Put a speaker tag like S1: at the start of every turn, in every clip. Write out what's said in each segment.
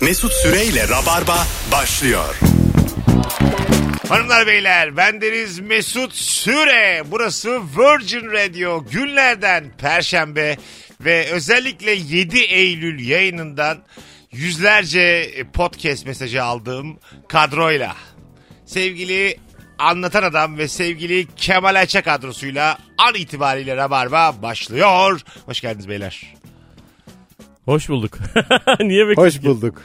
S1: Mesut Süreyle Rabarba başlıyor.
S2: Hanımlar beyler bendeniz Mesut Süre. Burası Virgin Radio günlerden perşembe ve özellikle 7 Eylül yayınından yüzlerce e, podcast mesajı aldığım kadroyla. Sevgili Anlatan Adam ve sevgili Kemal Ayça kadrosuyla an itibariyle Rabarba başlıyor. Hoş geldiniz beyler.
S3: Hoş bulduk. Niye bekliyorsun?
S4: Hoş bulduk.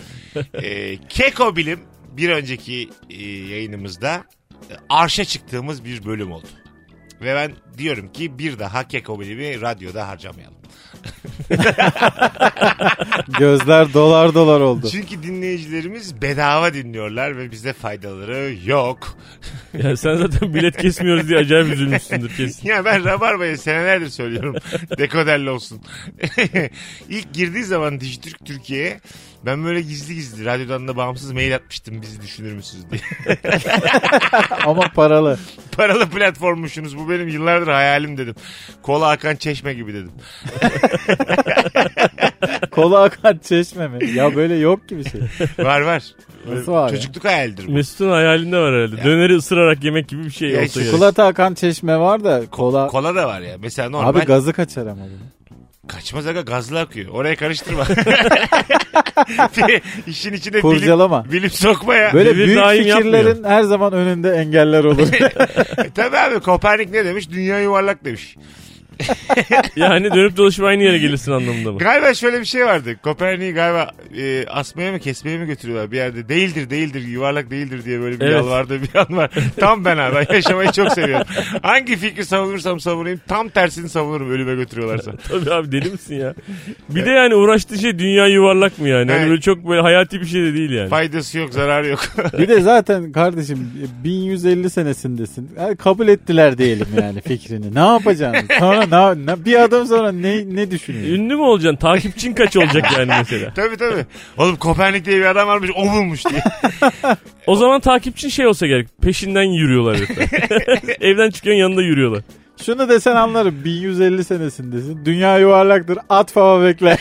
S2: Ee, Keko Bilim bir önceki e, yayınımızda e, arşa çıktığımız bir bölüm oldu. Ve ben diyorum ki bir daha Keko Bilim'i radyoda harcamayalım.
S4: Gözler dolar dolar oldu.
S2: Çünkü dinleyicilerimiz bedava dinliyorlar ve bize faydaları yok.
S3: Ya sen zaten bilet kesmiyoruz diye acayip üzülmüşsündür kesin.
S2: Ya ben Rabarba'ya senelerdir söylüyorum. Dekoderli olsun. İlk girdiği zaman Dijitürk Türkiye'ye ben böyle gizli gizli radyodan da bağımsız mail atmıştım bizi düşünür müsünüz diye.
S4: Ama paralı.
S2: Paralı platformmuşsunuz bu benim yıllardır hayalim dedim. Kola akan çeşme gibi dedim.
S4: Kola akan çeşme mi? Ya böyle yok ki bir şey.
S2: Var var.
S4: Nasıl var ya?
S2: Çocukluk hayalidir bu.
S3: Mesut'un hayalinde var herhalde. Döneri ısırarak yemek gibi bir şey
S2: Ya
S3: olsa gerek.
S4: Çikolata akan çeşme var da kola.
S2: Kola da var ya. Mesela normal
S4: Abi gazı kaçar ama. bu.
S2: kaçmaz aga gazlı akıyor. Oraya karıştırma. İşin içine
S4: Kurcalama.
S2: bilim, bilim sokma ya.
S4: Böyle
S3: Devir
S4: büyük
S3: daim
S4: fikirlerin her zaman önünde engeller olur.
S2: E, tabii abi Kopernik ne demiş? Dünya yuvarlak demiş.
S3: Yani dönüp dolaşıp aynı yere gelirsin anlamında mı?
S2: Galiba şöyle bir şey vardı. Kopernik'i galiba e, asmaya mı kesmeye mi götürüyorlar bir yerde. Değildir değildir yuvarlak değildir diye böyle bir
S3: Evet.
S2: yalvardığı bir an var. Tam ben abi. Ben yaşamayı çok seviyorum. Hangi fikri savunursam savunayım tam tersini savunurum ölüme götürüyorlarsa.
S3: Tabii abi deli misin ya? Bir de yani uğraştığı şey dünya yuvarlak mı yani?
S2: Evet.
S3: Hani böyle çok böyle hayati bir şey de değil yani.
S2: Faydası yok zararı yok.
S4: bir de zaten kardeşim 1150 senesindesin. Yani kabul ettiler diyelim yani fikrini. Ne yapacaksın? Sonra ne, ne- bir adım sonra ne, ne düşünüyorsun?
S3: Ünlü mü olacaksın? Takipçin kaç olacak yani mesela?
S2: Tabii tabii. Oğlum Kopernik diye bir adam varmış o bulmuş diye.
S3: O zaman takipçin şey olsa gerek. Peşinden yürüyorlar herifler. Evden çıkıyorsun yanında yürüyorlar.
S4: Şunu desen anlarım. 1150 senesindesin. Dünya yuvarlaktır. At fava bekle.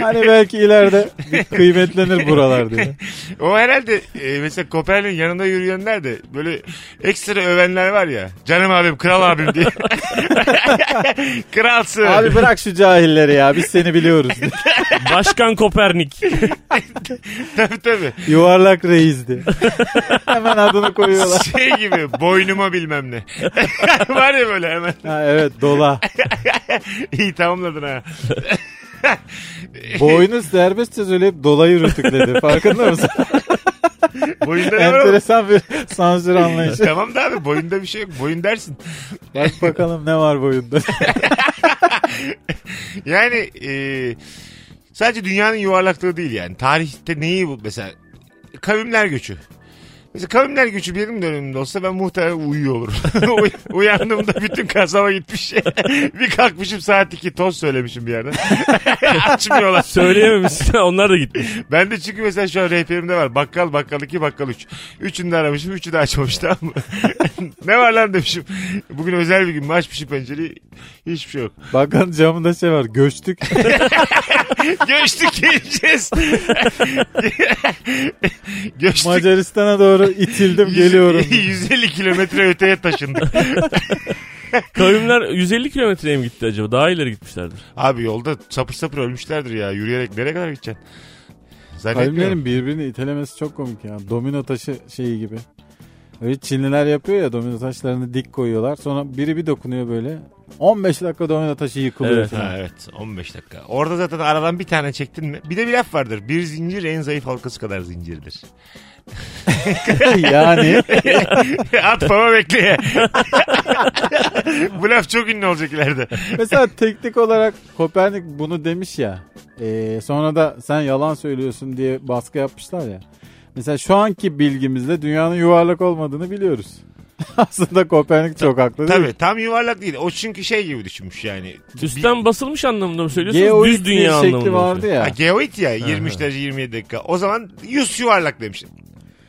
S4: hani belki ileride bir kıymetlenir buralar diye.
S2: O herhalde e, mesela Kopernik'in yanında yürüyenler de böyle ekstra övenler var ya. Canım abim kral abim diye. Kralsın.
S4: Abi bırak şu cahilleri ya. Biz seni biliyoruz.
S3: Başkan Kopernik.
S2: tabii tabii.
S4: Yuvarlak reis diye. Hemen adını koyuyorlar.
S2: Şey gibi boynuma bilmem ne. var ya böyle hemen.
S4: Ha, evet dola.
S2: İyi tamamladın ha.
S4: Boynu serbestçe söyleyip dolayı rütükledi. Farkında mısın?
S2: Boyunda ne var oğlum?
S4: Enteresan bir sansür anlayışı.
S2: Tamam da abi boyunda bir şey yok. Boyun dersin.
S4: Bak bakalım ne var boyunda.
S2: Yani e, sadece dünyanın yuvarlaklığı değil yani. Tarihte neyi bu mesela? Kavimler göçü. Mesela kavimler göçü benim dönemimde olsa ben muhtemelen uyuyor olurum. Uy- Uyandığımda bütün kasaba gitmiş. bir kalkmışım saat 2 toz söylemişim bir yerden. Açmıyorlar.
S3: Söyleyememişsin. Onlar da gitmiş.
S2: Ben de çünkü mesela şu an rehberimde var. Bakkal, bakkal 2, bakkal 3. Üçünü de aramışım, üçü de açmamış tamam mı? ne var lan demişim. Bugün özel bir gün mü? Açmışım pencereyi. Hiçbir şey yok.
S4: Bakın camında şey var. Göçtük.
S2: Göçtük geleceğiz. Göçtük.
S4: Macaristan'a doğru itildim geliyorum.
S2: 150 kilometre öteye taşındık.
S3: Kavimler 150 kilometreye mi gitti acaba? Daha ileri gitmişlerdir.
S2: Abi yolda sapır sapır ölmüşlerdir ya. Yürüyerek nereye kadar gideceksin? Zannetmiyorum.
S4: Kavimlerin birbirini itelemesi çok komik ya. Domino taşı şeyi gibi. Öyle Çinliler yapıyor ya domino taşlarını dik koyuyorlar. Sonra biri bir dokunuyor böyle. 15 dakika domino taşı yıkılıyor.
S3: Evet,
S4: falan.
S2: Ha, evet 15 dakika. Orada zaten aradan bir tane çektin mi? Bir de bir laf vardır. Bir zincir en zayıf halkası kadar zincirdir.
S4: yani
S2: At baba bekle. Bu laf çok ünlü olacak ileride.
S4: mesela teknik olarak Kopernik bunu demiş ya. Ee, sonra da sen yalan söylüyorsun diye baskı yapmışlar ya. Mesela şu anki bilgimizle dünyanın yuvarlak olmadığını biliyoruz. Aslında Kopernik çok haklı değil mi?
S2: Tabii tam yuvarlak değil. O çünkü şey gibi düşünmüş yani.
S3: Üstten basılmış anlamında mı söylüyorsunuz?
S4: Geoid
S3: Düz
S4: diye
S3: dünya
S4: şekli
S3: anlamında mı
S4: vardı ya.
S2: Ha, geoid ya 23 derece 27 dakika. O zaman yüz yuvarlak demiş.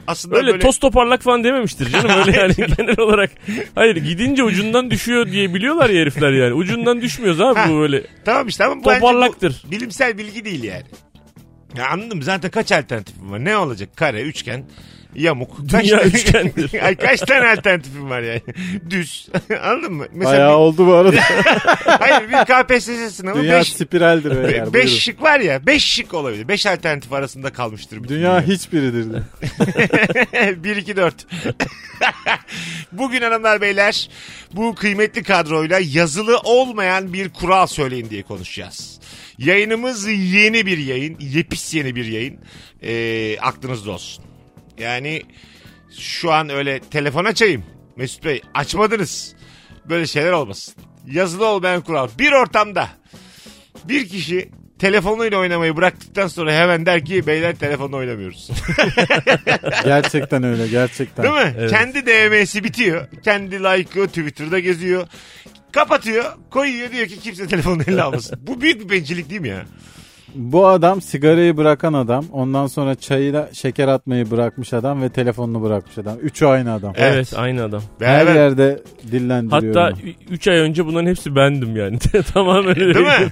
S2: aslında
S3: Öyle
S2: böyle...
S3: toz toparlak falan dememiştir canım öyle yani genel olarak. Hayır gidince ucundan düşüyor diye biliyorlar ya herifler yani. Ucundan düşmüyoruz abi bu böyle.
S2: Tamam işte ama bu bence
S3: Toparlaktır.
S2: bu bilimsel bilgi değil yani. Ya anladım zaten kaç alternatifim var? Ne olacak? Kare, üçgen, yamuk. Kaç
S3: Dünya
S2: tane-
S3: üçgendir.
S2: Ay, kaç tane alternatifim var yani? Düz. Anladın mı?
S4: Bayağı
S2: Mesela
S4: oldu bu arada.
S2: bir, hayır bir KPSS sınavı
S4: Dünya
S2: 5
S4: spiraldir beyler.
S2: beş
S4: buyurun.
S2: şık var ya. Beş şık olabilir. Beş alternatif arasında kalmıştır. bütün
S4: Dünya hiçbiridir. de.
S2: 1 2 4. Bugün hanımlar beyler bu kıymetli kadroyla yazılı olmayan bir kural söyleyin diye konuşacağız. Yayınımız yeni bir yayın. Yepis yeni bir yayın. Ee, aklınızda olsun. Yani şu an öyle telefon açayım. Mesut Bey açmadınız. Böyle şeyler olmasın. Yazılı olmayan kural. Bir ortamda bir kişi telefonuyla oynamayı bıraktıktan sonra hemen der ki beyler telefonla oynamıyoruz.
S4: Gerçekten öyle gerçekten.
S2: Değil mi?
S3: Evet.
S2: Kendi DM'si bitiyor. Kendi like'ı Twitter'da geziyor. Kapatıyor, koyuyor diyor ki kimse telefonunu eline almasın. Bu büyük bir bencillik değil mi ya?
S4: Bu adam sigarayı bırakan adam. Ondan sonra çayla şeker atmayı bırakmış adam ve telefonunu bırakmış adam. Üçü aynı adam.
S2: Evet.
S3: Evet, aynı adam.
S4: Her
S2: Beraber.
S4: yerde dillendiriyor.
S3: Hatta
S4: onu.
S3: 3 ay önce bunların hepsi bendim yani. Tamamen öyle.
S2: Değil mi?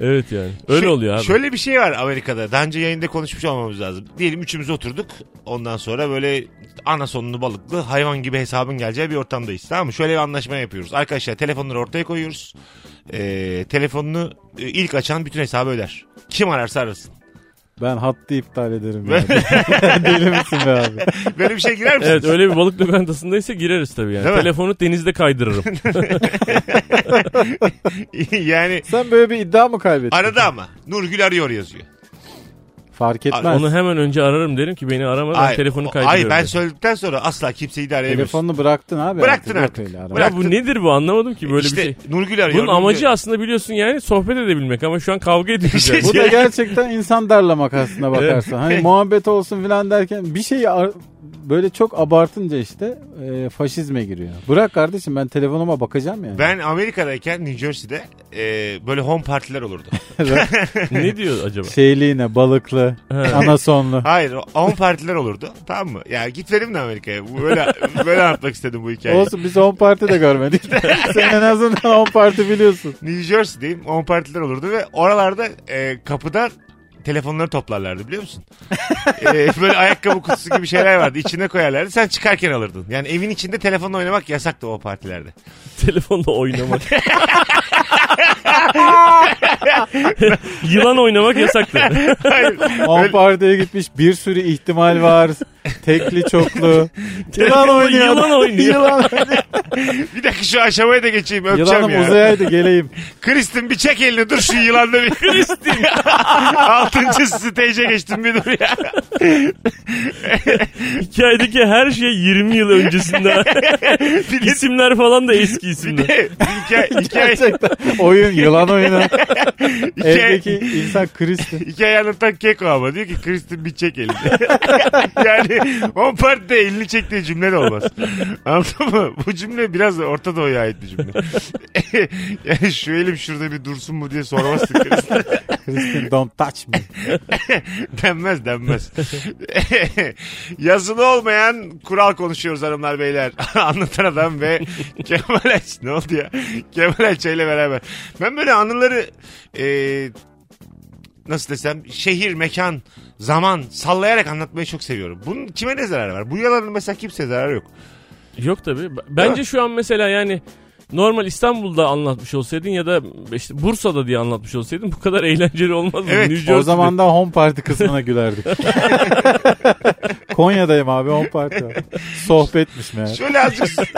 S3: Evet yani. Öyle
S2: Şu-
S3: oluyor abi.
S2: Şöyle bir şey var Amerika'da. Daha önce yayında konuşmuş olmamız lazım. Diyelim üçümüz oturduk. Ondan sonra böyle ana sonunu balıklı hayvan gibi hesabın geleceği bir ortamdayız. Tamam mı? Şöyle bir anlaşma yapıyoruz. Arkadaşlar telefonları ortaya koyuyoruz. Ee, telefonunu e, ilk açan bütün hesabı öder. Kim ararsa arasın.
S4: Ben hattı iptal ederim. ya. Deli misin be abi?
S2: Böyle bir şey girer misin?
S3: Evet öyle bir balık lokantasındaysa gireriz tabii yani.
S2: Değil mi?
S3: Telefonu denizde kaydırırım.
S2: yani
S4: Sen böyle bir iddia mı kaybettin?
S2: arada ama. Nurgül arıyor yazıyor.
S4: Fark etmez.
S3: Onu hemen önce ararım derim ki beni arama ben
S2: Ay,
S3: telefonu
S2: o-
S3: kaydırıyorum.
S2: Ay ben
S3: derim.
S2: söyledikten sonra asla kimseyi de arayamıyorsun.
S4: Telefonunu bıraktın abi.
S2: Bıraktın
S4: Yok
S2: artık.
S4: öyle araba.
S2: Bırak-
S3: ya bu nedir bu anlamadım ki böyle
S2: işte,
S3: bir şey.
S2: Nurgül arıyor.
S3: Bunun
S2: Nurgül-
S3: amacı aslında biliyorsun yani sohbet edebilmek ama şu an kavga ediyoruz.
S2: İşte-
S3: yani.
S4: Bu da gerçekten insan darlamak aslında bakarsan. Hani muhabbet olsun filan derken bir şeyi ar- böyle çok abartınca işte e, faşizme giriyor. Bırak kardeşim ben telefonuma bakacağım yani.
S2: Ben Amerika'dayken New Jersey'de e, böyle home partiler olurdu.
S3: ne diyor acaba?
S4: Şeyliğine balıklı, anasonlu.
S2: Hayır o- home partiler olurdu. Tamam mı? Ya gitmedim de Amerika'ya. Bu Böyle, böyle anlatmak istedim bu hikayeyi.
S4: Olsun biz 10 parti de görmedik. Sen en azından 10 parti biliyorsun.
S2: New Jersey'deyim. On partiler olurdu ve oralarda e, kapıda telefonları toplarlardı biliyor musun? E, böyle ayakkabı kutusu gibi şeyler vardı. İçine koyarlardı. Sen çıkarken alırdın. Yani evin içinde telefonla oynamak yasaktı o partilerde.
S3: Telefonla oynamak. Yılan oynamak yasaktı.
S2: Hayır.
S4: 10 partiye gitmiş bir sürü ihtimal var. Tekli çoklu. Yılan oynuyor.
S3: Yılan oynuyor.
S4: Yılan,
S2: Bir dakika şu aşamaya da geçeyim öpeceğim
S4: yılanım
S2: ya.
S4: uzayaydı geleyim.
S2: Kristin bir çek elini dur şu yılanda bir. Kristin. Altıncı stage'e geçtim bir dur ya.
S3: Hikayedeki her şey 20 yıl öncesinde.
S2: Bir de,
S3: isimler falan da eski
S2: bir
S3: isimler.
S2: de hikaye, hikaye,
S4: Gerçekten oyun yılan oyunu.
S2: hikaye,
S4: Evdeki insan Kristi.
S2: hikaye anlatan keko ama diyor ki Kristin bir çek elini. yani on partide elini çek diye cümle de olmaz. Anladın mı? Bu cümle biraz da Orta Doğu'ya ait bir cümle. yani şu elim şurada bir dursun mu diye sormazsın Kristin.
S4: Kristi don't touch me.
S2: denmez denmez. Yazılı olmayan kural konuşuyoruz hanımlar beyler. Anlatan adam ve Kemal Ayç. Ne oldu ya? Kemal Ayça ile beraber. Ben böyle anıları e, nasıl desem şehir, mekan, zaman sallayarak anlatmayı çok seviyorum. Bunun kime ne zararı var? Bu yalanın mesela kimseye zararı yok.
S3: Yok tabii. B- Bence şu an mesela yani normal İstanbul'da anlatmış olsaydın ya da işte Bursa'da diye anlatmış olsaydın bu kadar eğlenceli olmazdı.
S2: Evet,
S3: New
S4: O
S3: Jersey'de.
S4: zaman da home party kısmına gülerdik. Konya'dayım abi home party var. Sohbetmiş meğer.
S2: Şöyle azıcık...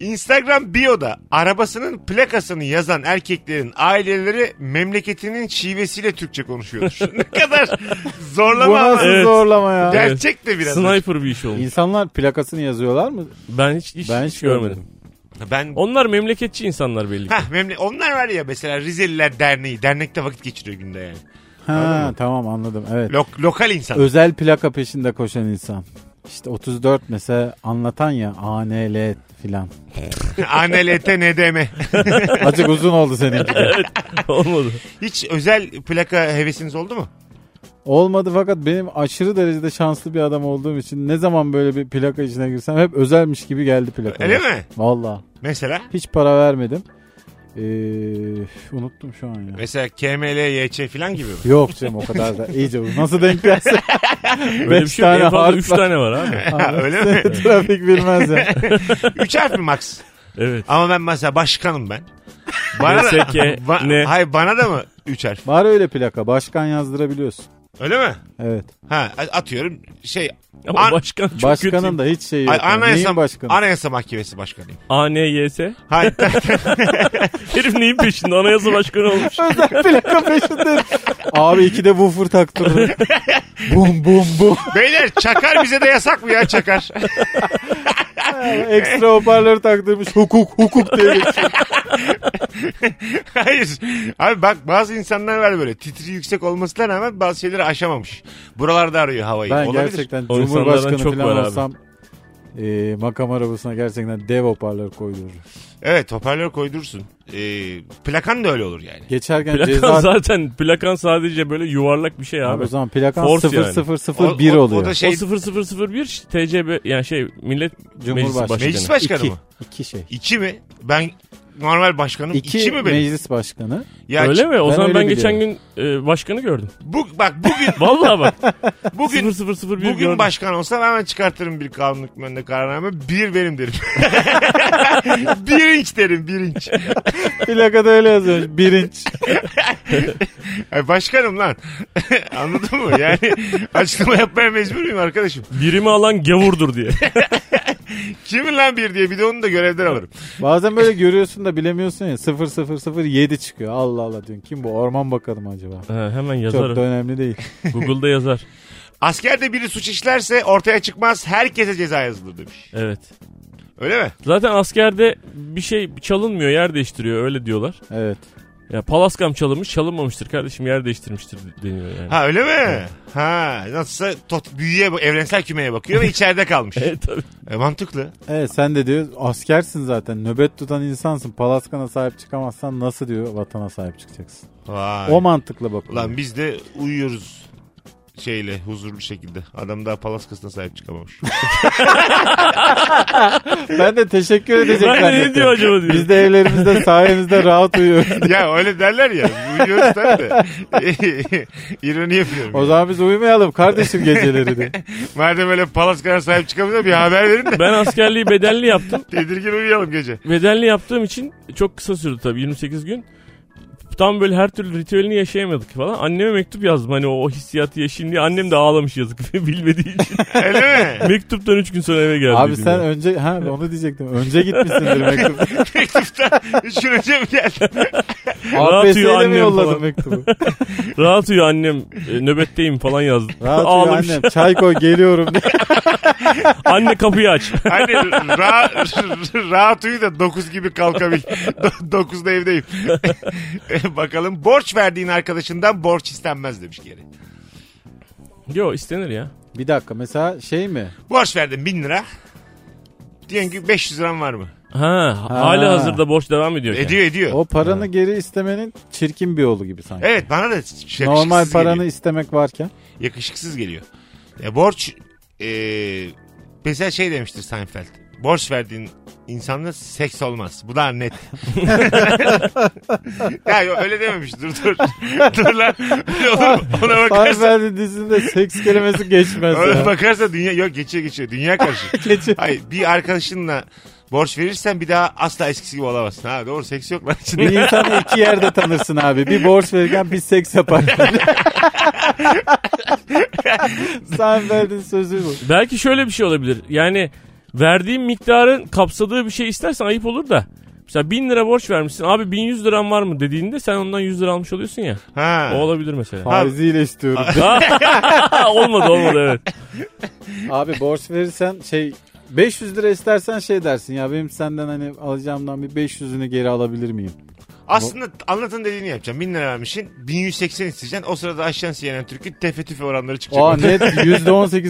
S2: Instagram bio'da arabasının plakasını yazan erkeklerin aileleri memleketinin şivesiyle Türkçe konuşuyordur. ne kadar
S4: Bu
S2: zorlama ama
S4: nasıl
S3: Evet.
S4: zorlama ya?
S3: Gel-
S2: gerçek de biraz.
S3: Sniper bir iş olmuş.
S4: İnsanlar plakasını yazıyorlar mı?
S3: Ben hiç, hiç,
S4: Ben
S3: hiç
S4: hiç
S3: görmedim.
S4: görmedim.
S2: Ben
S3: Onlar memleketçi insanlar belli ki.
S2: Hah, memle- onlar var ya mesela Rizeliler Derneği. Dernekte vakit geçiriyor günde yani.
S4: Ha tamam anladım evet.
S2: Lok- lokal insan.
S4: Özel plaka peşinde koşan insan. İşte 34 mesela anlatan ya ANL filan.
S2: ANLT NDM.
S4: Azıcık uzun oldu seninki. de.
S3: Olmadı.
S2: Hiç özel plaka hevesiniz oldu mu?
S4: Olmadı fakat benim aşırı derecede şanslı bir adam olduğum için ne zaman böyle bir plaka içine girsem hep özelmiş gibi geldi plaka.
S2: Öyle mi?
S4: Valla.
S2: Mesela?
S4: Hiç para vermedim. Ee, unuttum şu an ya.
S2: Mesela KML, YÇ falan gibi mi?
S4: Yok canım o kadar da iyice bu. Nasıl denk gelse.
S3: Öyle bir
S4: Beş
S3: şey yok. En
S4: tane
S3: fazla
S4: harf
S3: 3
S4: var.
S3: tane var abi.
S2: Öyle mi?
S4: Trafik bilmez ya.
S2: Üç harf mi max?
S3: Evet.
S2: Ama ben mesela başkanım ben. Bana da,
S3: MSK, ne?
S2: Hayır bana da mı üç harf?
S4: Var öyle plaka. Başkan yazdırabiliyorsun.
S2: Öyle mi?
S4: Evet.
S2: Ha atıyorum şey
S3: Ama
S2: An-
S3: başkan çok
S4: Başkanın
S3: kötü.
S4: da hiç şeyi yok.
S2: Ay,
S4: yani.
S2: anayasa,
S4: Neyin başkanı?
S2: anayasa mahkemesi başkanıyım.
S3: ANYS.
S2: Hayır
S3: Herif neyin peşinde? Anayasa başkanı olmuş.
S4: Özel plaka peşinde. Abi iki de woofer taktırır. bum bum bum.
S2: beyler çakar bize de yasak mı ya çakar?
S4: Ekstra hoparlör taktırmış. Hukuk hukuk diye geçiyor.
S2: Hayır. Abi bak bazı insanlar var böyle titri yüksek olmasına rağmen bazı şeyleri aşamamış. Buralarda arıyor havayı.
S4: Ben
S2: Olabilir.
S4: gerçekten
S3: O insanlardan
S4: Cumhurbaşkanı
S3: çok var
S4: falan
S3: abi.
S4: olsam e, makam arabasına gerçekten dev hoparlör koydururum.
S2: Evet hoparlör koydursun. Ee, plakan da öyle olur yani.
S4: Geçerken
S3: Plakan
S4: ceza...
S3: zaten plakan sadece böyle yuvarlak bir şey
S4: Abi
S3: abi.
S4: o zaman plakan
S3: Force
S4: 0001
S2: O- o- o
S4: oluyor.
S2: da şey-
S3: O 0001 TCB yani şey Millet Meclisi
S4: Cumhurbaşkanı.
S3: Başkanı.
S2: Meclis başkanı
S4: iki,
S2: mı?
S4: İki şey.
S2: İki mi? Ben normal başkanım.
S4: İki,
S2: iki mi benim?
S4: meclis başkanı.
S2: Ya
S3: Öyle mi? O
S4: Ben
S3: zaman
S4: öyle
S3: ben geçen gün e, başkanı gördüm.
S2: Bu, bak bugün
S3: Vallahi bak.
S2: bugün
S3: 0001
S2: bugün
S3: gördüm.
S2: başkan olsam hemen çıkartırım bir kanun hükmünde kararname. Bir benim derim. bir inç derim bir inç.
S4: Plakada öyle yazıyor. Birinci.
S2: Ay başkanım lan. Anladın mı? Yani açıklama yapmaya mecbur muyum arkadaşım?
S3: Birimi alan gavurdur diye.
S2: Kimin lan bir diye bir de onu da görevden alırım.
S4: Bazen böyle görüyorsun da bilemiyorsun ya 0007 çıkıyor. Allah Allah diyorsun. Kim bu? Orman Bakanı mı acaba?
S3: Ha, hemen
S4: Çok da
S3: yazarım.
S4: önemli değil.
S3: Google'da yazar.
S2: Askerde biri suç işlerse ortaya çıkmaz herkese ceza yazılır demiş.
S3: Evet.
S2: Öyle mi?
S3: Zaten askerde bir şey çalınmıyor yer değiştiriyor öyle diyorlar.
S4: Evet.
S3: Ya palaskam çalınmış çalınmamıştır kardeşim yer değiştirmiştir deniyor yani.
S2: Ha öyle mi? Ha nasılsa tot, büyüye evrensel kümeye bakıyor ve içeride kalmış.
S3: Evet tabii.
S2: E, mantıklı.
S4: Evet sen de diyor askersin zaten. Nöbet tutan insansın. Palaskana sahip çıkamazsan nasıl diyor vatana sahip çıkacaksın.
S2: Vay.
S4: O mantıkla bakıyor.
S2: Lan biz de uyuyoruz şeyle huzurlu şekilde. Adam daha palaskasına sahip çıkamamış.
S4: Ben de teşekkür edecek
S3: Ben de ne
S4: zannettim.
S3: diyor acaba diyor.
S4: Biz de evlerimizde sayenizde rahat uyuyoruz.
S2: ya öyle derler ya. Uyuyoruz tabii de. İroni yapıyorum.
S4: O zaman biz uyumayalım kardeşim geceleri de.
S2: Madem öyle palaskana sahip çıkamıyor bir haber verin de.
S3: Ben askerliği bedelli yaptım.
S2: Tedirgin uyuyalım gece.
S3: Bedelli yaptığım için çok kısa sürdü tabii 28 gün. Tam böyle her türlü ritüelini yaşayamadık falan. Anneme mektup yazdım hani o, o hissiyatı yaşayayım diye. Annem de ağlamış yazık bilmediği için.
S2: Öyle mi?
S3: Mektuptan 3 gün sonra eve geldi.
S4: Abi sen önce ha onu diyecektim. Önce gitmişsindir mektup.
S2: Mektuptan üç gün önce mi geldin?
S3: Rahat
S4: APS'ye
S3: uyu
S4: de mi
S3: annem
S4: yolladın
S3: falan.
S4: mektubu?
S3: Rahat uyu annem e, nöbetteyim falan yazdım.
S4: Rahat uyu
S3: Ağlamış.
S4: annem. Çay koy geliyorum diye.
S3: Anne kapıyı aç.
S2: Hani ra- rahat uyu da 9 gibi kalkabil. 9'da evdeyim. Bakalım borç verdiğin arkadaşından borç istenmez demiş geri.
S3: Yo istenir ya.
S4: Bir dakika mesela şey mi?
S2: Borç verdin 1000 lira. Diyen ki 500 liram var mı?
S3: Ha, hala hazırda borç devam ediyor. yani.
S2: Ediyor ediyor.
S4: O paranı geri istemenin çirkin bir yolu gibi sanki.
S2: Evet bana da yakışıksız
S4: Normal paranı
S2: geliyor.
S4: istemek varken.
S2: Yakışıksız geliyor. Ya borç e, mesela şey demiştir Seinfeld. Borç verdiğin insanla seks olmaz. Bu daha net. ya yo, öyle dememiş. Dur dur. dur lan. Öyle olur mu? Ona bakarsa.
S4: Seinfeld dizisinde seks kelimesi geçmez
S2: Ona
S4: ya.
S2: bakarsa dünya yok geçiyor geçiyor. Dünya karşı.
S4: Geçiyor.
S2: Hayır bir arkadaşınla borç verirsen bir daha asla eskisi gibi olamazsın. Ha doğru seks yok lan içinde.
S4: Bir insanı iki yerde tanırsın abi. Bir borç verirken bir seks yapar. Seinfeld'in sözü bu.
S3: Belki şöyle bir şey olabilir. Yani verdiğin miktarın kapsadığı bir şey istersen ayıp olur da. Mesela 1000 lira borç vermişsin. Abi 1100 liran var mı dediğinde sen ondan 100 lira almış oluyorsun ya.
S2: Ha.
S3: O olabilir mesela. Ah!
S4: Faiziyle istiyorum.
S3: olmadı olmadı evet.
S4: Abi borç verirsen şey 500 lira istersen şey dersin ya benim senden hani alacağımdan bir 500'ünü geri alabilir miyim?
S2: Aslında anlatın dediğini yapacağım. 1000 lira vermişsin. 1180 isteyeceksin. O sırada Aşyan CNN Türk'ün tefe tüfe oranları çıkacak.
S4: Aa net %18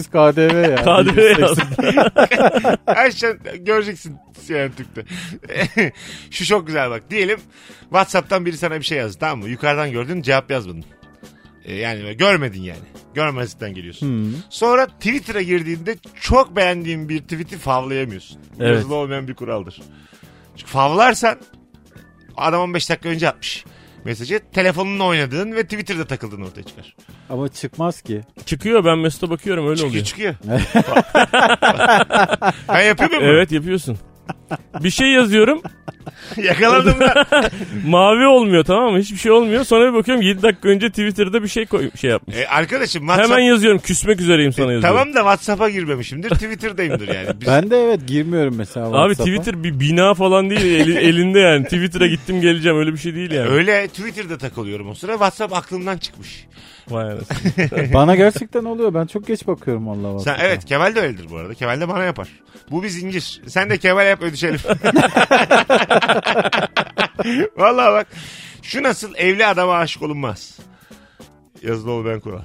S4: KDV ya.
S3: KDV yazdım.
S2: Aşyan şey göreceksin CNN Türk'te. Şu çok güzel bak. Diyelim Whatsapp'tan biri sana bir şey yazdı tamam mı? Yukarıdan gördün cevap yazmadın. E, yani böyle görmedin yani. Görmezlikten geliyorsun.
S3: Hmm.
S2: Sonra Twitter'a girdiğinde çok beğendiğin bir tweet'i favlayamıyorsun. Bu
S3: Evet.
S2: Yazılı olmayan bir kuraldır. Çünkü favlarsan adam 15 dakika önce atmış mesajı. Telefonunla oynadığın ve Twitter'da takıldığın ortaya çıkar.
S4: Ama çıkmaz ki.
S3: Çıkıyor ben Mesut'a bakıyorum öyle
S2: Çıkıyor
S3: oluyor.
S2: çıkıyor. ben yapıyor muyum?
S3: Evet yapıyorsun. Bir şey yazıyorum.
S2: bunu? Yakaladım ben.
S3: Mavi olmuyor tamam mı? Hiçbir şey olmuyor. Sonra bir bakıyorum 7 dakika önce Twitter'da bir şey koy şey yapmış.
S2: E, arkadaşım
S3: Hemen
S2: WhatsApp...
S3: yazıyorum. Küsmek üzereyim sana yazıyorum.
S2: Tamam da WhatsApp'a girmemişimdir. Twitter'dayımdır yani. Biz-
S4: Ben de evet girmiyorum mesela
S3: Abi
S4: WhatsApp'a.
S3: Twitter bir bina falan değil eli- elinde yani. Twitter'a gittim geleceğim öyle bir şey değil yani.
S2: Öyle Twitter'da takılıyorum o sıra. WhatsApp aklımdan çıkmış.
S3: Vay anasını.
S4: Bana gerçekten oluyor. Ben çok geç bakıyorum vallahi
S2: Sen,
S4: WhatsApp'a.
S2: evet Kemal de öyledir bu arada. Kemal de bana yapar. Bu bir zincir. Sen de Kemal yap ödüşelim. Vallahi bak. Şu nasıl evli adama aşık olunmaz. Yazılı ol ben kural.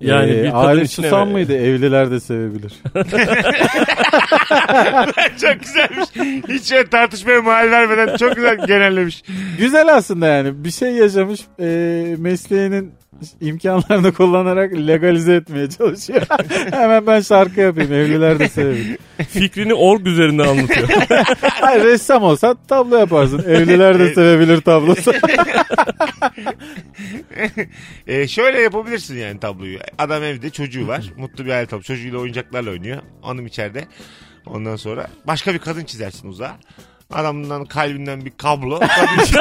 S3: Yani
S4: Ee,
S3: bir kadın
S4: Arif
S3: için
S4: Susam
S3: evet.
S4: mıydı? Evliler de sevebilir.
S2: çok güzelmiş. Hiç öyle tartışmaya mahal vermeden çok güzel genellemiş.
S4: Güzel aslında yani. Bir şey yaşamış e, mesleğinin imkanlarını kullanarak legalize etmeye çalışıyor. Hemen ben şarkı yapayım. Evliler de sevebilir.
S3: Fikrini org üzerinden anlatıyor.
S4: Hayır ressam olsan tablo yaparsın. Evliler de sevebilir tablosu.
S2: Ee, şöyle yapabilirsin yani tabloyu. Adam evde çocuğu var. Mutlu bir aile tablo. Çocuğuyla oyuncaklarla oynuyor. Hanım içeride. Ondan sonra başka bir kadın çizersin uzağa. Adamdan kalbinden bir kablo. Kadın-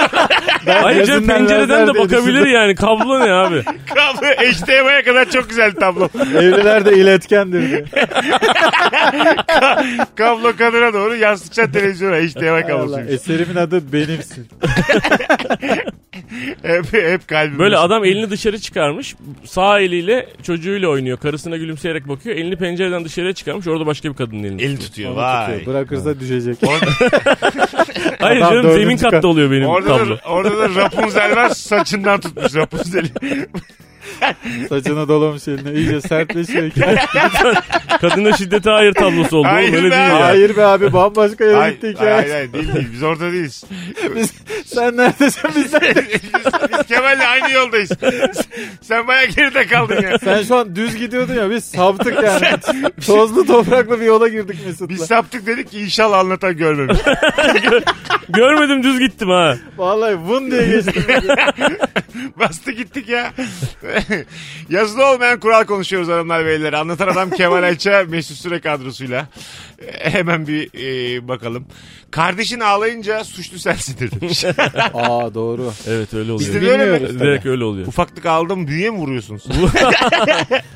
S3: Ayrıca
S4: Gözünden
S3: pencereden
S4: lazer
S3: de
S4: diye
S3: bakabilir
S4: düşündüm.
S3: yani. Kablo ne abi?
S2: kablo HDMI'ye kadar çok güzel tablo.
S4: Evliler de iletkendir diye.
S2: Kablo kadına doğru yansıtacaksın televizyona. HDMI
S4: Hay Allah,
S2: kablosuymuş.
S4: eserimin adı benimsin.
S2: Hep, hep kalbim.
S3: Böyle adam elini dışarı çıkarmış. Sağ eliyle çocuğuyla oynuyor. Karısına gülümseyerek bakıyor. Elini pencereden dışarıya çıkarmış. Orada başka bir kadının
S4: E,
S3: elini.
S2: Elini tutuyor.
S4: Onu
S2: Vay.
S4: tutuyor. Bırakırsa düşecek.
S3: Hayır
S4: Adam
S3: canım
S4: dördüncü
S3: zemin
S4: kat-
S3: katta oluyor benim
S2: Orada
S3: tablo.
S2: da, orada da Rapunzel var saçından tutmuş Rapunzel'i.
S4: Saçına dolamış eline. İyice sertleşiyor. hikaye.
S3: Kadına şiddete hayır tablosu oldu.
S2: Hayır
S3: Hayır Öyle
S2: be.
S3: değil yani.
S4: Hayır be abi bambaşka yere
S2: hayır,
S4: gitti
S2: hayır,
S4: hikaye.
S2: hayır, değil, değil. Biz orada değiliz.
S4: Biz- Sen neredesin biz?
S2: biz, biz Kemal'le aynı yoldayız. Sen baya geride kaldın ya.
S4: Sen şu an düz gidiyordun ya biz saptık yani. Tozlu topraklı bir yola girdik
S2: Biz
S4: Mesut'la.
S2: saptık dedik ki inşallah anlatan görmemiş.
S3: Görmedim düz gittim ha.
S4: Vallahi vın diye geçtim.
S2: Bastı gittik ya. Yazılı olmayan kural konuşuyoruz hanımlar beyler. Anlatan adam Kemal Ayça Mesut Süre kadrosuyla. E, Hemen bir e, bakalım. Kardeşin ağlayınca suçlu sensindir demiş.
S4: Aa doğru.
S3: Evet öyle oluyor.
S2: Bizde de öyle mi?
S4: Bilmiyoruz.
S3: Direkt öyle oluyor.
S2: Ufaklık aldım büyüye mi vuruyorsunuz?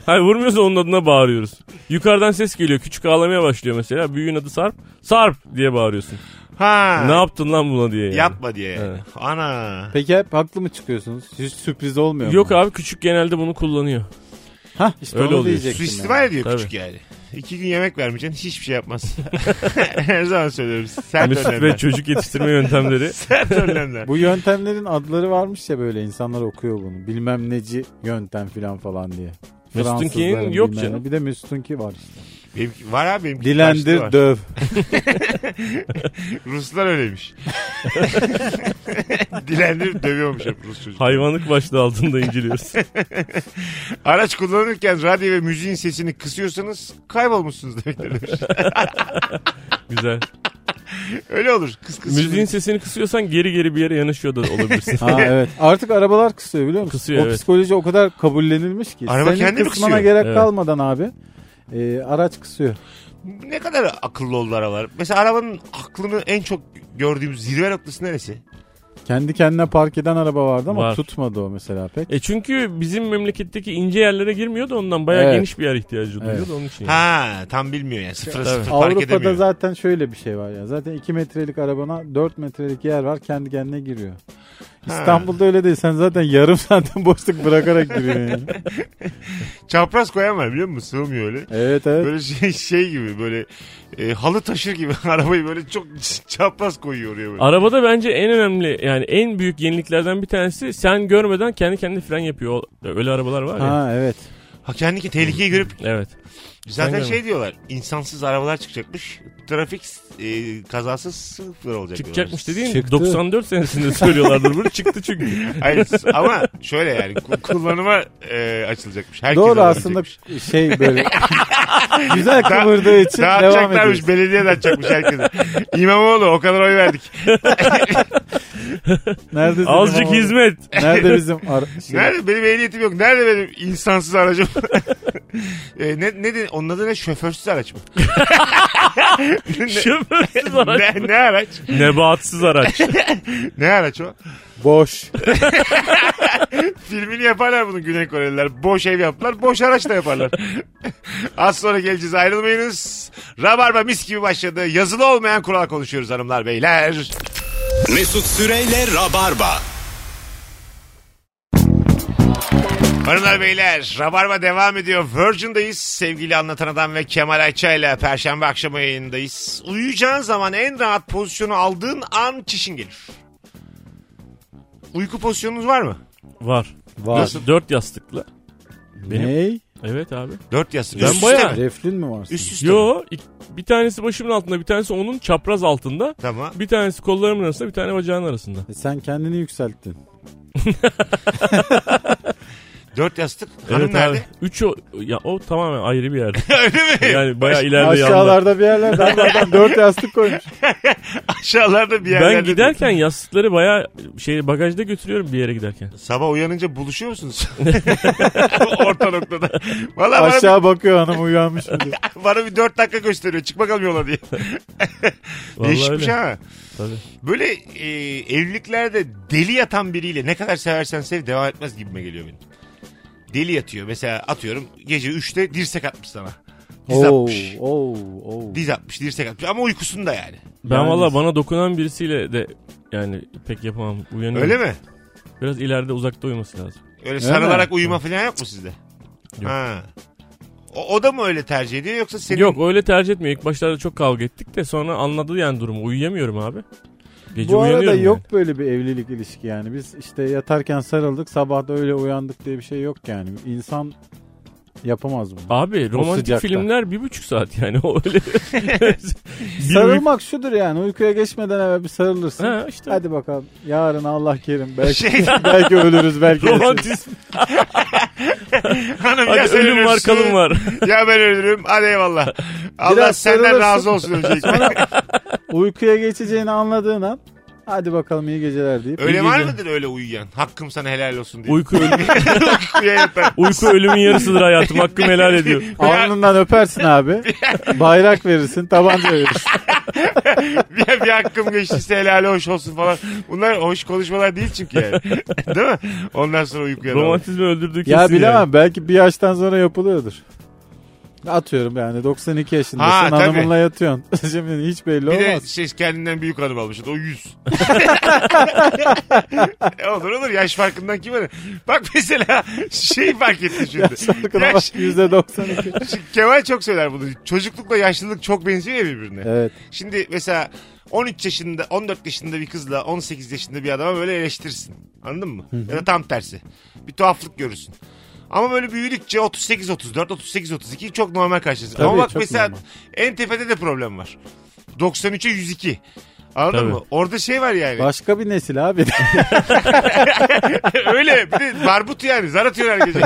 S3: Hayır vurmuyorsa onun adına bağırıyoruz. Yukarıdan ses geliyor. Küçük ağlamaya başlıyor mesela. Büyüğün adı Sarp. Sarp diye bağırıyorsun.
S2: Ha.
S3: Ne yaptın lan buna diye yani.
S2: Yapma diye. yani.
S3: Evet.
S2: Ana.
S4: Peki hep haklı mı çıkıyorsunuz? Hiç sürpriz olmuyor mu?
S3: Yok abi küçük genelde bunu kullanıyor.
S4: Hah işte
S3: Öyle
S4: öyle onu
S3: oluyor.
S4: diyecektim.
S2: Suistimal
S4: yani.
S2: ediyor
S3: Tabii.
S2: küçük yani. İki gün yemek vermeyeceksin hiçbir şey yapmaz. Her zaman söylüyorum. Sert
S3: Mesut
S2: önlemler.
S3: Hani ve çocuk yetiştirme yöntemleri.
S2: Sert önlemler.
S4: Bu yöntemlerin adları varmış ya böyle insanlar okuyor bunu. Bilmem neci yöntem filan falan diye.
S3: Mesut'unkinin
S4: Fransızların
S3: yok
S4: bilmem
S3: canım.
S4: ne. Bir de Mesut'unki var işte.
S2: Benimki- var abi benimki. karşıda var.
S4: Dilendir döv.
S2: Ruslar öyleymiş. Dilendirip dövüyormuş hep Rus çocuk.
S3: Hayvanlık başlığı altında inceliyoruz.
S2: Araç kullanırken radyo ve müziğin sesini kısıyorsanız kaybolmuşsunuz demektir demiş.
S3: Güzel.
S2: Öyle olur. Kıs kıs.
S3: Müziğin sesini kısıyorsan geri geri bir yere yanaşıyor da olabilirsin.
S4: Ha evet. Artık arabalar kısıyor biliyor musun?
S3: Kısıyor,
S4: o
S3: evet.
S4: psikoloji o kadar kabullenilmiş ki.
S2: Araba
S4: Senin
S2: kendi mi
S4: kısmana
S2: kısıyor?
S4: gerek
S3: Evet.
S4: kalmadan abi. e, araç kısıyor.
S2: Ne kadar akıllı oldu arabalar. Mesela arabanın aklını en çok gördüğümüz zirve noktası neresi?
S4: Kendi kendine park eden araba vardı ama
S3: Var.
S4: tutmadı o mesela pek.
S3: E çünkü bizim memleketteki ince yerlere girmiyor da ondan bayağı
S4: Evet.
S3: geniş bir yer ihtiyacı duyuyor
S4: Evet.
S3: da onun için. yani.
S2: Ha tam bilmiyor yani. Sıfıra
S3: Tabii.
S2: sıfır fark
S4: Avrupa'da
S2: edemiyor.
S4: zaten şöyle bir şey var ya. Zaten 2 metrelik arabana 4 metrelik yer var kendi kendine giriyor. İstanbul'da öyle değil. Sen zaten yarım saatten boşluk bırakarak giriyorsun yani.
S2: Çapraz koyan var biliyor musun? Sığmıyor öyle.
S4: Evet evet.
S2: Böyle şey, şey gibi böyle e, halı taşır gibi arabayı böyle çok çapraz koyuyor oraya böyle.
S3: Arabada bence en önemli yani en büyük yeniliklerden bir tanesi sen görmeden
S2: şey
S3: kendi kendine fren yapıyor. O- Öyle arabalar var ya.
S4: Ha evet.
S2: Ha kendi ki tehlikeye görüp
S3: Evet.
S2: Zaten
S3: Aynen.
S2: şey diyorlar. insansız arabalar çıkacakmış. Trafik e, kazası sıfır olacak
S3: Çıkacakmış
S2: diyorlar.
S3: dediğin
S4: Çıktı.
S3: 94 senesinde söylüyorlardır bunu çıktı çünkü.
S2: Hayır, ama şöyle yani ku- kullanıma e, açılacakmış. Herkes
S4: Doğru aslında şey böyle güzel kıvırdığı için devam ediyoruz.
S2: Dağıtacaklarmış belediye dağıtacakmış herkese. İmamoğlu o kadar oy verdik.
S4: Nerede bizim
S3: Azıcık
S4: ama-
S3: hizmet.
S4: Nerede bizim ara- şey-
S2: Nerede benim ehliyetim yok. Nerede benim insansız aracım? e, ne, ne de, onun adı ne? Şoförsüz araç mı?
S3: Şoförsüz araç.
S2: ne, ne araç?
S3: Nebatsız araç.
S2: Ne araç o?
S4: boş?
S2: Filmini yaparlar bunu Güney Koreliler. Boş ev yaptılar, boş araç da yaparlar. Az sonra geleceğiz ayrılmayınız. Rabarba mis gibi başladı. Yazılı olmayan kural konuşuyoruz hanımlar beyler.
S1: Mesut Süreyle Rabarba.
S2: Hanımlar beyler Rabarba devam ediyor. Virgin'dayız. Sevgili Anlatan Adam ve Kemal Ayça ile Perşembe akşamı yayındayız. Uyuyacağın zaman en rahat pozisyonu aldığın an çişin gelir. Uyku pozisyonunuz var mı?
S3: Var.
S4: Var.
S3: Nasıl? Dört yastıklı. Benim.
S4: Ney?
S3: Evet abi.
S2: Dört yastık.
S3: Ben
S2: Üst üste
S3: bayağı-
S2: mi?
S4: Reflün mü var?
S2: Üst üste. mi?
S3: Yo ik- bir tanesi başımın altında bir tanesi onun çapraz altında.
S2: Tamam.
S3: Bir tanesi kollarımın arasında bir tane bacağın arasında.
S4: E sen kendini yükselttin.
S2: Dört yastık. Hanım
S3: abi.
S2: nerede?
S3: Üç o, ya, o tamamen ayrı bir yerde.
S2: Öyle mi?
S3: Yani bayağı ileride yanda.
S4: Aşağılarda bir yerlerde adam- adam dört yastık koymuş.
S2: Aşağılarda bir yerlerde.
S3: Ben giderken yastıkları bayağı şey bagajda götürüyorum bir yere giderken.
S2: Sabah uyanınca buluşuyor musunuz? Orta noktada. Valla bana, bir-
S4: Aşağı bakıyor hanım uyanmış mı diye.
S2: bana bir dört dakika gösteriyor. Çık bakalım yola diye.
S3: Vallahi
S2: Değişikmiş
S3: öyle.
S2: ha.
S3: Tabii.
S2: Böyle e, evliliklerde deli yatan biriyle ne kadar seversen sev devam etmez gibime geliyor benim. Deli yatıyor. Mesela atıyorum gece 3'te dirsek atmış sana. Diz
S4: Oo,
S2: atmış.
S4: oo, oo.
S2: Diz atmış, dirsek atmış ama uykusunda yani.
S3: Ben
S4: Yani-
S3: valla bana dokunan birisiyle de yani pek yapamam. Uyanıyorum.
S2: Öyle mi?
S3: Biraz ileride uzakta uyuması lazım.
S2: Öyle sarılarak
S4: mi?
S2: uyuma falan yok mu sizde?
S3: Yok.
S2: Ha. O, o da mı öyle tercih ediyor yoksa senin
S3: Yok öyle tercih etmiyor. İlk başlarda çok kavga ettik de sonra anladı yani durumu. Uyuyamıyorum abi. Gece
S4: Bu arada
S3: uyanıyorum.
S4: yok böyle bir evlilik ilişki yani. Biz işte yatarken sarıldık sabah da öyle uyandık diye bir şey yok yani. İnsan yapamaz bunu.
S3: yani. Abi romantik
S4: sıcakta.
S3: filmler bir buçuk saat yani o öyle. Bir uyku-
S4: Sarılmak şudur yani uykuya geçmeden evvel bir sarılırsın.
S3: Ha, işte.
S4: Hadi bakalım yarın Allah kerim belki
S2: Şey-
S4: belki ölürüz belki.
S3: Romantizm.
S2: hanım ya
S3: Hadi
S2: sen
S3: ölüm var
S2: ölürsün,
S3: kalım var.
S2: Ya ben ölürüm. Hadi eyvallah. Allah
S4: Biraz
S2: senden
S4: sarılırsın.
S2: razı olsun öncelikle.
S4: Uykuya geçeceğini anladığın an hadi bakalım iyi geceler deyip
S2: öyle
S3: iyi
S2: var
S3: gece.
S2: mıdır öyle uyuyan? Hakkım sana helal olsun diye.
S3: Uyku, ölüm,
S2: Uykuya yatar.
S3: uyku ölümün yarısıdır hayatım. Hakkım helal ediyor.
S4: alnından öpersin abi. Bayrak verirsin, tabanca verirsin.
S2: bir, bir hakkım geçtiyse helal hoş olsun falan. Bunlar hoş konuşmalar değil çünkü yani. değil mi? Ondan sonra uykuya dalalım.
S3: Romantizmi öldürdüğü kesin
S4: ya bilemem
S3: yani.
S4: belki bir yaştan sonra yapılıyordur. Atıyorum yani 92 yaşındasın
S2: Ha, tabii.
S4: hanımınla yatıyorsun. Şimdi hiç belli
S2: Bir de
S4: olmaz.
S2: şey kendinden büyük hanım almışsın. O yüz. E olur olur. Yaş farkından kim var? Bak mesela şey fark ettim şimdi.
S4: Farkına bak,
S2: Yaş,
S4: %92.
S2: Kemal çok söyler bunu. Çocuklukla yaşlılık çok benziyor ya birbirine.
S4: evet.
S2: Şimdi mesela 13 yaşında, 14 yaşında bir kızla 18 yaşında bir adama böyle eleştirsin. Anladın mı? Ya da tam tersi. Bir tuhaflık görürsün. Ama böyle büyüdükçe 38 34 38 32 çok normal karşılasın.
S4: Tabii,
S2: Ama bak
S4: çok
S2: mesela
S4: normal.
S2: en tepede de problem var. 93'e 102. Anladın
S3: Tabii.
S2: mı? Orada şey var yani.
S4: Başka bir nesil abi.
S2: Öyle bir de barbut yani. Zar atıyor her gece.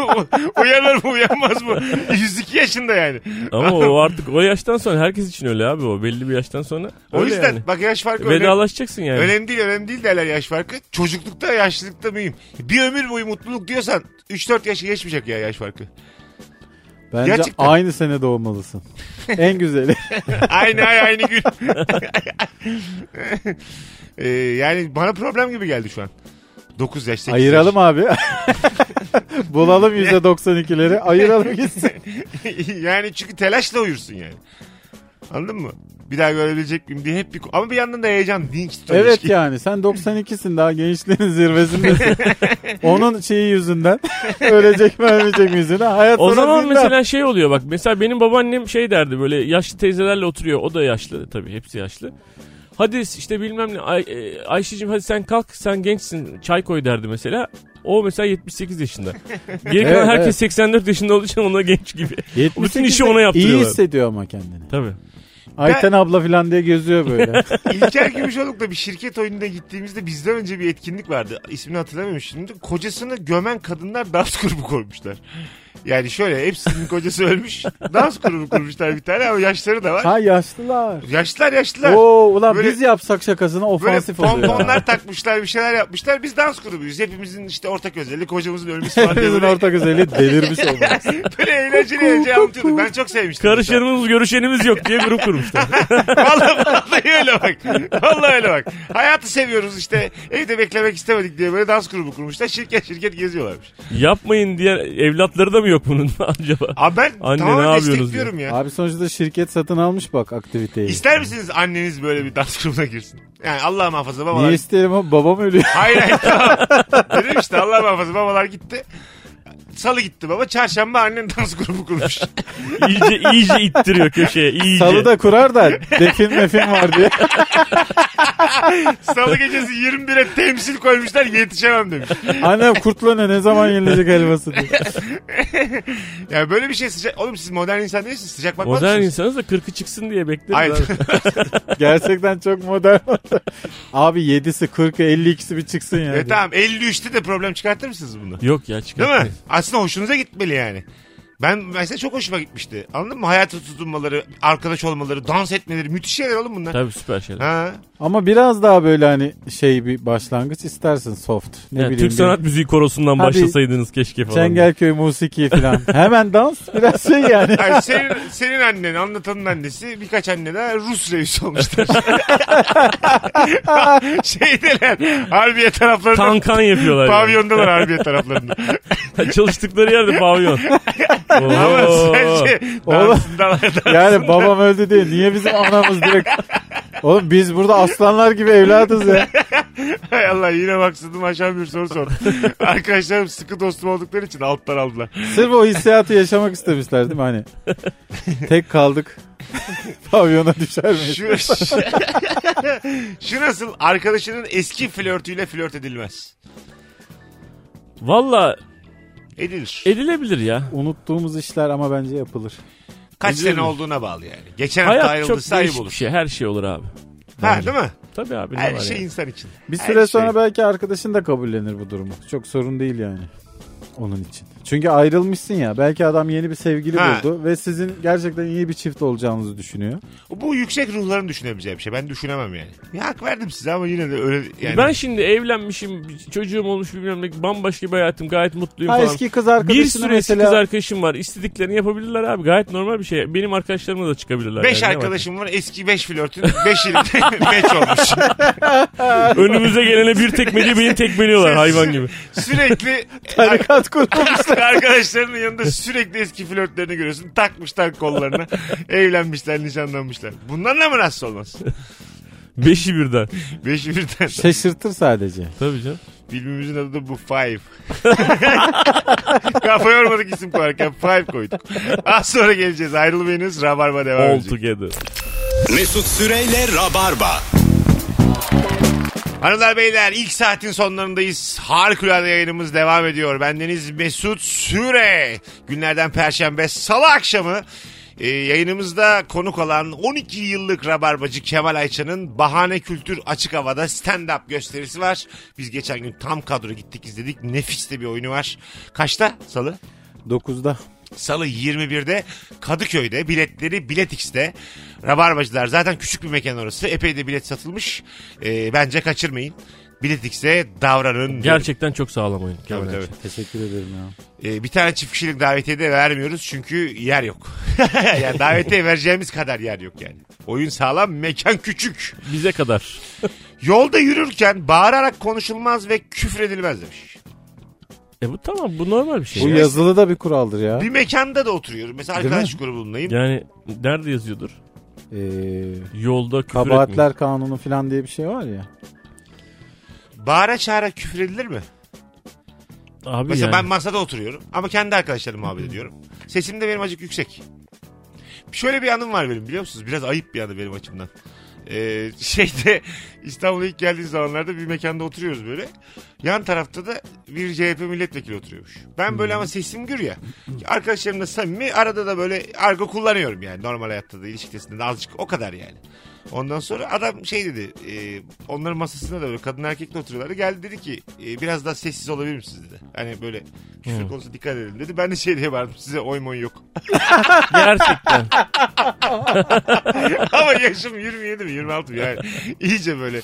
S2: U- Uyanır mı uyanmaz mı? 102 yaşında yani.
S3: Ama o artık o yaştan sonra herkes için öyle abi o. Belli bir yaştan sonra
S2: O
S3: öyle
S2: yüzden
S3: yani.
S2: bak yaş farkı önemli.
S3: Vedalaşacaksın yani.
S2: Önemli değil önemli değil derler yaş farkı. Çocuklukta yaşlılıkta mühim. Bir ömür boyu mutluluk diyorsan 3-4 yaşı geçmeyecek ya yaş farkı.
S4: Bence
S2: Gerçekten.
S4: aynı sene doğmalısın. en güzeli.
S2: Aynı ay aynı gün. Ee, yani bana problem gibi geldi şu an. 9 yaş 8
S4: Ayıralım abi. Bulalım %92'leri. Ayıralım gitsin.
S2: yani çünkü telaşla uyursun yani. Anladın mı? Bir daha görebilecek miyim diye hep bir... Ama bir yandan da heyecan. Dinç tutan
S4: Evet
S2: ilişki.
S4: yani sen 92'sin daha gençliğin zirvesindesin. Onun şeyi yüzünden ölecek mi ölmeyecek mi yüzünden hayat
S3: O
S4: sana
S3: zaman
S4: zindan.
S3: mesela şey oluyor bak mesela benim babaannem şey derdi böyle yaşlı teyzelerle oturuyor o da yaşlı tabii hepsi yaşlı. Hadi işte bilmem ne Ay, e, Ayşe'cim hadi sen kalk sen gençsin çay koy derdi mesela. O mesela 78 yaşında. Geri kalan
S4: Evet,
S3: herkes
S4: evet.
S3: 84 yaşında olduğu için ona genç gibi.
S4: 78
S3: Bütün işi
S4: de
S3: ona
S4: İyi
S3: yaptırıyorlar.
S4: hissediyor ama kendini.
S3: Tabii.
S4: Ayten abla falan diye geziyor böyle.
S2: İlker Gümüşoluk'la bir şirket oyununa gittiğimizde bizden önce bir etkinlik vardı. İsmini hatırlamıyorum şimdi. Kocasını gömen kadınlar dans grubu koymuşlar. Yani şöyle hepsinin kocası ölmüş. Dans grubu kurmuşlar bir tane ama yaşları da var.
S4: ha yaşlılar.
S2: Yaşlılar yaşlılar.
S4: Oo ulan
S2: Böyle-
S4: biz yapsak şakasına
S2: Böyle
S4: ofansif oluyor.
S2: pomponlar takmışlar bir şeyler yapmışlar. Biz dans grubuyuz. Hepimizin işte ortak özelliği kocamızın ölmüş falan diye
S4: Hepimizin
S2: böyle,
S4: ortak özelliği delirmiş olması.
S2: böyle eğlenceli eğlenceli anlatıyorduk. Ben çok sevmiştim.
S3: Karışanımız görüşenimiz yok diye grup kurmuşlar.
S2: Vallahi, vallahi öyle bak. Vallahi öyle bak. Hayatı seviyoruz işte. Evde beklemek istemedik diye böyle dans grubu kurmuşlar. Şirket şirket geziyorlarmış.
S3: Yapmayın diye evlatları da mı yok bunun acaba?
S2: Abi ben
S3: Anne, ne
S2: tamamen
S3: yapıyorsunuz
S2: destekliyorum ya.
S4: Abi sonuçta şirket satın almış bak aktiviteyi.
S2: İster misiniz anneniz böyle bir dans grubuna girsin? Yani Allah muhafaza babalar.
S4: Niye isterim o babam ölüyor.
S2: Hayır hayır tamam. Dedim işte Allah muhafaza babalar gitti. Salı gitti baba. Çarşamba annen dans grubu kurmuş.
S3: İyice, iyice ittiriyor köşeye. iyice.
S4: Salı da kurar da defin mefin var diye.
S2: Salı gecesi 21'e temsil koymuşlar yetişemem demiş.
S4: Annem kurtlanıyor ne zaman yenilecek helvası diye.
S2: Yani böyle bir şey sıcak. Oğlum siz modern insan değilsiniz. Sıcak bakmaz
S3: Modern
S2: mısınız?
S3: insanız da 40'ı çıksın diye
S2: Hayır.
S3: bekleriz. abi.
S4: Gerçekten çok modern oldu. Abi 7'si 40'ı 52'si bir çıksın yani.
S2: E tamam 53'te de problem çıkartır mısınız bunu?
S3: Yok ya çıkar.
S2: Değil mi? Aslında hoşunuza gitmeli yani. Ben mesela çok hoşuma gitmişti. Anladın mı? Hayata tutunmaları, arkadaş olmaları, dans etmeleri müthiş şeyler oğlum bunlar.
S3: Tabii süper şeyler.
S2: Ha.
S4: Ama biraz daha böyle hani şey bir başlangıç istersin soft. Ne
S3: Yani
S4: bileyim.
S3: Türk
S4: bir
S3: Sanat Müziği Korosu'ndan
S4: Ha, bir-
S3: başlasaydınız keşke falan.
S4: Çengelköy musiki falan. Hemen dans biraz şey yani.
S2: Ay, senin, senin annen, anlatanın annesi birkaç anne de Rus reis olmuşlar. Şeydeler, Harbiye taraflarında.
S3: Kankan yapıyorlar. yani.
S2: Pavyondalar Harbiye taraflarında.
S3: Çalıştıkları yerde pavyon.
S2: Ama
S3: Oo.
S2: sence
S4: Oğlum.
S2: dansındalar da.
S4: Yani babam öldü diye niye bizim anamız direkt Oğlum biz burada aslanlar gibi evladız ya.
S2: Hay Allah yine maksadım aşan bir soru sor. Arkadaşlarım sıkı dostum oldukları için alttan aldılar.
S4: Sırf o hissiyatı yaşamak istemişler değil mi hani? Tek kaldık. Pavyona düşer miyiz?
S2: Şu, şu nasıl arkadaşının eski flörtüyle flört edilmez.
S3: Valla
S2: Edilir.
S3: E, edilebilir ya.
S4: Unuttuğumuz işler ama bence yapılır.
S2: Kaç
S3: edilir
S2: sene
S3: mi?
S2: olduğuna bağlı yani. Geçen hafta
S3: Hayat çok
S2: ayrıldıysa ayıp
S3: değişik bir
S2: olur.
S3: şey. Her şey olur abi.
S2: Ha değil mi?
S3: Tabii abi ne
S2: Her
S3: var
S2: şey
S3: yani.
S2: insan için.
S4: Bir
S2: Her
S4: süre
S2: şey.
S4: sonra belki arkadaşın da kabullenir bu durumu. Çok sorun değil yani onun için. Çünkü ayrılmışsın ya. Belki adam yeni bir sevgili
S2: Ha.
S4: buldu ve sizin gerçekten iyi bir çift olacağınızı düşünüyor.
S2: Bu yüksek ruhların düşünebileceği bir şey. Ben düşünemem yani. Ya hak verdim size ama yine de öyle yani.
S3: E, Ben şey- şimdi evlenmişim, bir çocuğum olmuş bilmem ne bambaşka bir hayatım gayet mutluyum
S4: Ha,
S3: falan.
S4: eski kız
S3: bir
S4: arkadaşını
S3: sürü eski
S4: mesela
S3: kız arkadaşım var. İstediklerini yapabilirler abi. Gayet normal bir şey. Benim arkadaşlarıma da çıkabilirler.
S2: Beş
S3: yani. Ne var?
S2: arkadaşım var eski beş flörtün beş yılında beş olmuş.
S3: Önümüze gelene bir tekme diye beni tekmeliyorlar hayvan gibi.
S2: Sürekli
S4: tarikat kurmamış.
S2: Arkadaşlarının yanında sürekli eski flörtlerini görüyorsun. Takmışlar kollarına. evlenmişler, nişanlanmışlar. Bunlarla mı rahatsız olmaz?
S3: Beşi birden.
S2: Beş birden.
S4: Şaşırtır sadece.
S3: Tabii canım.
S2: Filmimizin adı da bu Five. Kafa yormadık isim koyarken Five koyduk. Az sonra geleceğiz. Ayrılmayınız. Rabarba devam
S3: All
S2: edecek.
S3: together.
S1: Mesut Süreyle Rabarba.
S2: Hanımlar beyler ilk saatin sonlarındayız. Harikulade yayınımız devam ediyor. Bendeniz Mesut Süre. Günlerden Perşembe Salı akşamı e, yayınımızda konuk olan 12 yıllık rabarbacı Kemal Ayça'nın Bahane Kültür Açık Hava'da stand-up gösterisi var. Biz geçen gün tam kadro gittik izledik. Nefis de bir oyunu var. Kaçta Salı?
S4: 9'da.
S2: Salı 21'de Kadıköy'de biletleri Biletix'te. Rabarbacılar zaten küçük bir mekan orası. Epey de bilet satılmış. Ee, bence kaçırmayın. Biletix'e davranın.
S3: Gerçekten çok sağlam oyun.
S2: Tabii, tabii.
S4: Teşekkür ederim ya.
S2: Ee, bir tane çift kişilik davetiye de vermiyoruz çünkü yer yok. yani davetiye vereceğimiz kadar yer yok yani. Oyun sağlam, mekan küçük.
S3: Bize kadar.
S2: Yolda yürürken bağırarak konuşulmaz ve küfredilmez demiş.
S3: E bu tamam bu normal bir şey.
S4: Bu yazılı da bir kuraldır ya.
S2: Bir mekanda da oturuyorum. Mesela
S4: Değil mi?
S2: arkadaş grubundayım.
S3: Yani nerede yazıyordur?
S4: Ee,
S3: Yolda küfür etmeyin.
S4: kabahatler kanunu falan diye bir şey var ya.
S2: Bağıra çağıra küfredilir mi?
S3: Abi
S2: Mesela ben
S3: yani.
S2: masada oturuyorum ama kendi arkadaşlarımla muhabbet ediyorum. Sesim de benim acık yüksek. Şöyle bir anım var benim biliyor musunuz? Biraz ayıp bir anı benim açımdan. Ee, şeyde İstanbul'a ilk geldiğim zamanlarda bir mekanda oturuyoruz böyle. Yan tarafta da bir CHP milletvekili oturuyormuş. Ben böyle ama sesim gür ya. Arkadaşlarımla samimi arada da böyle argo kullanıyorum yani normal hayatta da ilişkisinde de azıcık o kadar yani. Ondan sonra adam şey dedi e, onların masasında da böyle kadın erkekle oturuyorlardı. Geldi dedi ki e, biraz daha sessiz olabilir misiniz dedi. Hani böyle küfür konusunda dikkat edin dedi. Ben de şey diye bağırdım size oy moy yok.
S3: Gerçekten.
S2: Ama yaşım 27 mi 26 mı yani. İyice böyle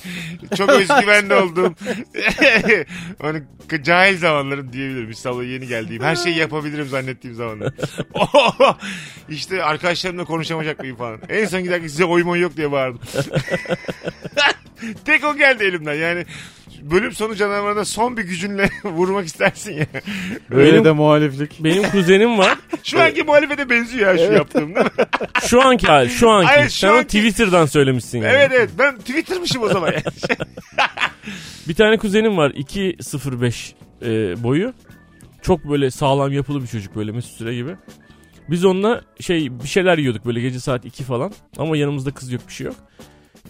S2: çok özgüvenli oldum. hani cahil zamanlarım diyebilirim. İstanbul'a yeni geldiğim her şeyi yapabilirim zannettiğim zamanlar. işte arkadaşlarımla konuşamayacak mıyım falan. En son giderken size oyum oy yok diye bağırdım. Tek o geldi elimden yani. Bölüm sonu canavarına son bir gücünle vurmak istersin ya.
S4: Öyle
S3: Benim-
S4: de muhaliflik.
S3: Benim kuzenim var.
S2: Şu anki muhalefete benziyor ya şu yaptığım değil mi?
S3: Şu anki hali, şu anki.
S2: Hayır, şu
S3: Sen onu
S2: anki-
S3: Twitter'dan söylemişsin yani.
S2: Evet evet ben Twitter'mışım o zaman. Yani.
S3: Bir tane kuzenim var 2.05 e, boyu. Çok böyle sağlam yapılı bir çocuk böyle Mesut Süre gibi. Biz onunla şey bir şeyler yiyorduk böyle gece saat 2 falan. Ama yanımızda kız yok bir şey yok.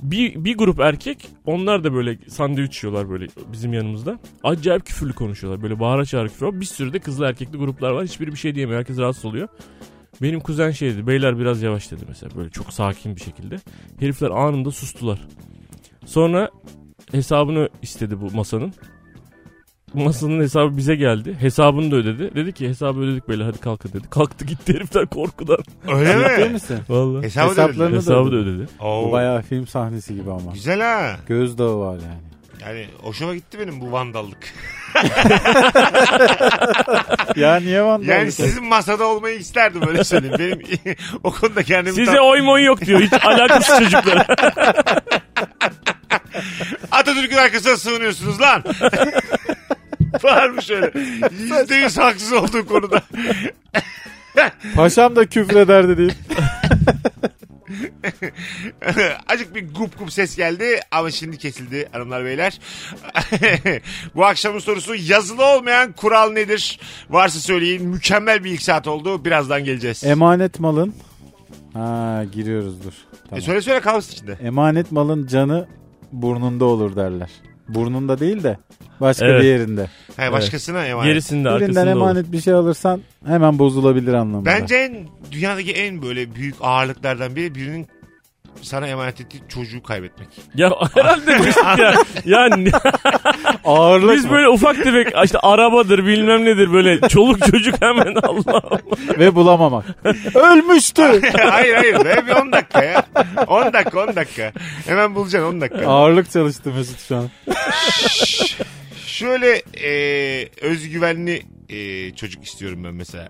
S3: Bir, bir grup erkek onlar da böyle sandviç yiyorlar böyle bizim yanımızda. Acayip küfürlü konuşuyorlar böyle bağıra çağıra küfür. var. Bir sürü de kızlı erkekli gruplar var. Hiçbiri bir şey diyemiyor herkes rahatsız oluyor. Benim kuzen şey dedi beyler biraz yavaş dedi mesela böyle çok sakin bir şekilde. Herifler anında sustular. Sonra hesabını istedi bu masanın. Masanın hesabı bize geldi. Hesabını da ödedi. Dedi ki hesabı ödedik beyler hadi kalkın dedi. Kalktı gitti herifler korkudan.
S2: Öyle
S4: Değil
S2: mi?
S4: misin?
S3: Vallahi.
S2: Hesabı
S4: Hesaplarını
S2: da ödedin.
S3: Hesabı da ödedi.
S2: Oo.
S4: Bu bayağı film sahnesi gibi ama.
S2: Güzel ha.
S4: Gözdağı var yani.
S2: Yani hoşuma gitti benim bu vandallık.
S4: Ya niye şey? Van
S2: Yani sizin masada olmayı isterdim öyle söyleyeyim. Benim o konuda kendimi
S3: Size
S2: tam-
S3: oy moy yok diyor. Hiç alakasız çocuklara.
S2: Atatürk'ün arkasına sığınıyorsunuz lan. Varmış öyle. Yüzde yüz haksız olduğu konuda.
S4: Paşam da küfrederdi deyip.
S2: Acık bir gup gup ses geldi ama şimdi kesildi hanımlar beyler. Bu akşamın sorusu yazılı olmayan kural nedir? Varsa söyleyin. Mükemmel bir ilk saat oldu. Birazdan geleceğiz.
S4: Emanet malın. Ha giriyoruz dur.
S2: E,
S4: Tamam.
S2: söyle söyle kalmış içinde.
S4: Emanet malın canı burnunda olur derler. Burnunda değil de başka
S3: Evet.
S4: bir yerinde.
S2: He, başkasına emanet.
S3: Gerisinde
S4: Birinden
S3: arkasında olur.
S4: emanet bir şey alırsan hemen bozulabilir anlamında.
S2: Bence en dünyadaki en böyle büyük ağırlıklardan biri birinin sana emanet ettiği çocuğu kaybetmek.
S3: Ya herhalde Mesut ya. Ya ne-
S4: ağırlık
S3: biz
S4: mı?
S3: böyle ufak tefek işte arabadır bilmem nedir böyle çoluk çocuk hemen Allah Allah.
S4: ve bulamamak. Ölmüştü.
S2: hayır hayır be bir 10 dakika ya. 10 dakika 10 dakika. Hemen bulacaksın 10 dakika.
S4: Ağırlık çalıştı Mesut şu an.
S2: Şöyle e, özgüvenli e, çocuk istiyorum ben mesela.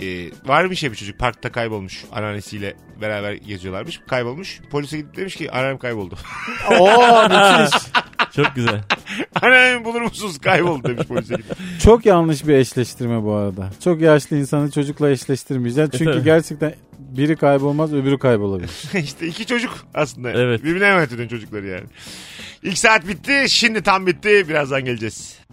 S2: E, varmış ya bir çocuk parkta kaybolmuş. Anneannesiyle beraber geziyorlarmış. Kaybolmuş. Polise gidip demiş ki anneannem kayboldu.
S4: Oo müthiş.
S3: Çok güzel.
S2: anneannemi bulur musunuz kayboldu demiş polise gidip.
S4: Çok yanlış bir eşleştirme bu arada. Çok yaşlı insanı çocukla eşleştirmeyeceksin. Çünkü
S3: E, tabii.
S4: gerçekten biri kaybolmaz öbürü kaybolabilir.
S2: işte iki çocuk aslında.
S3: Evet.
S2: Birbirine emanet ediyorsun çocukları yani. İlk saat bitti. Şimdi tam bitti. Birazdan geleceğiz.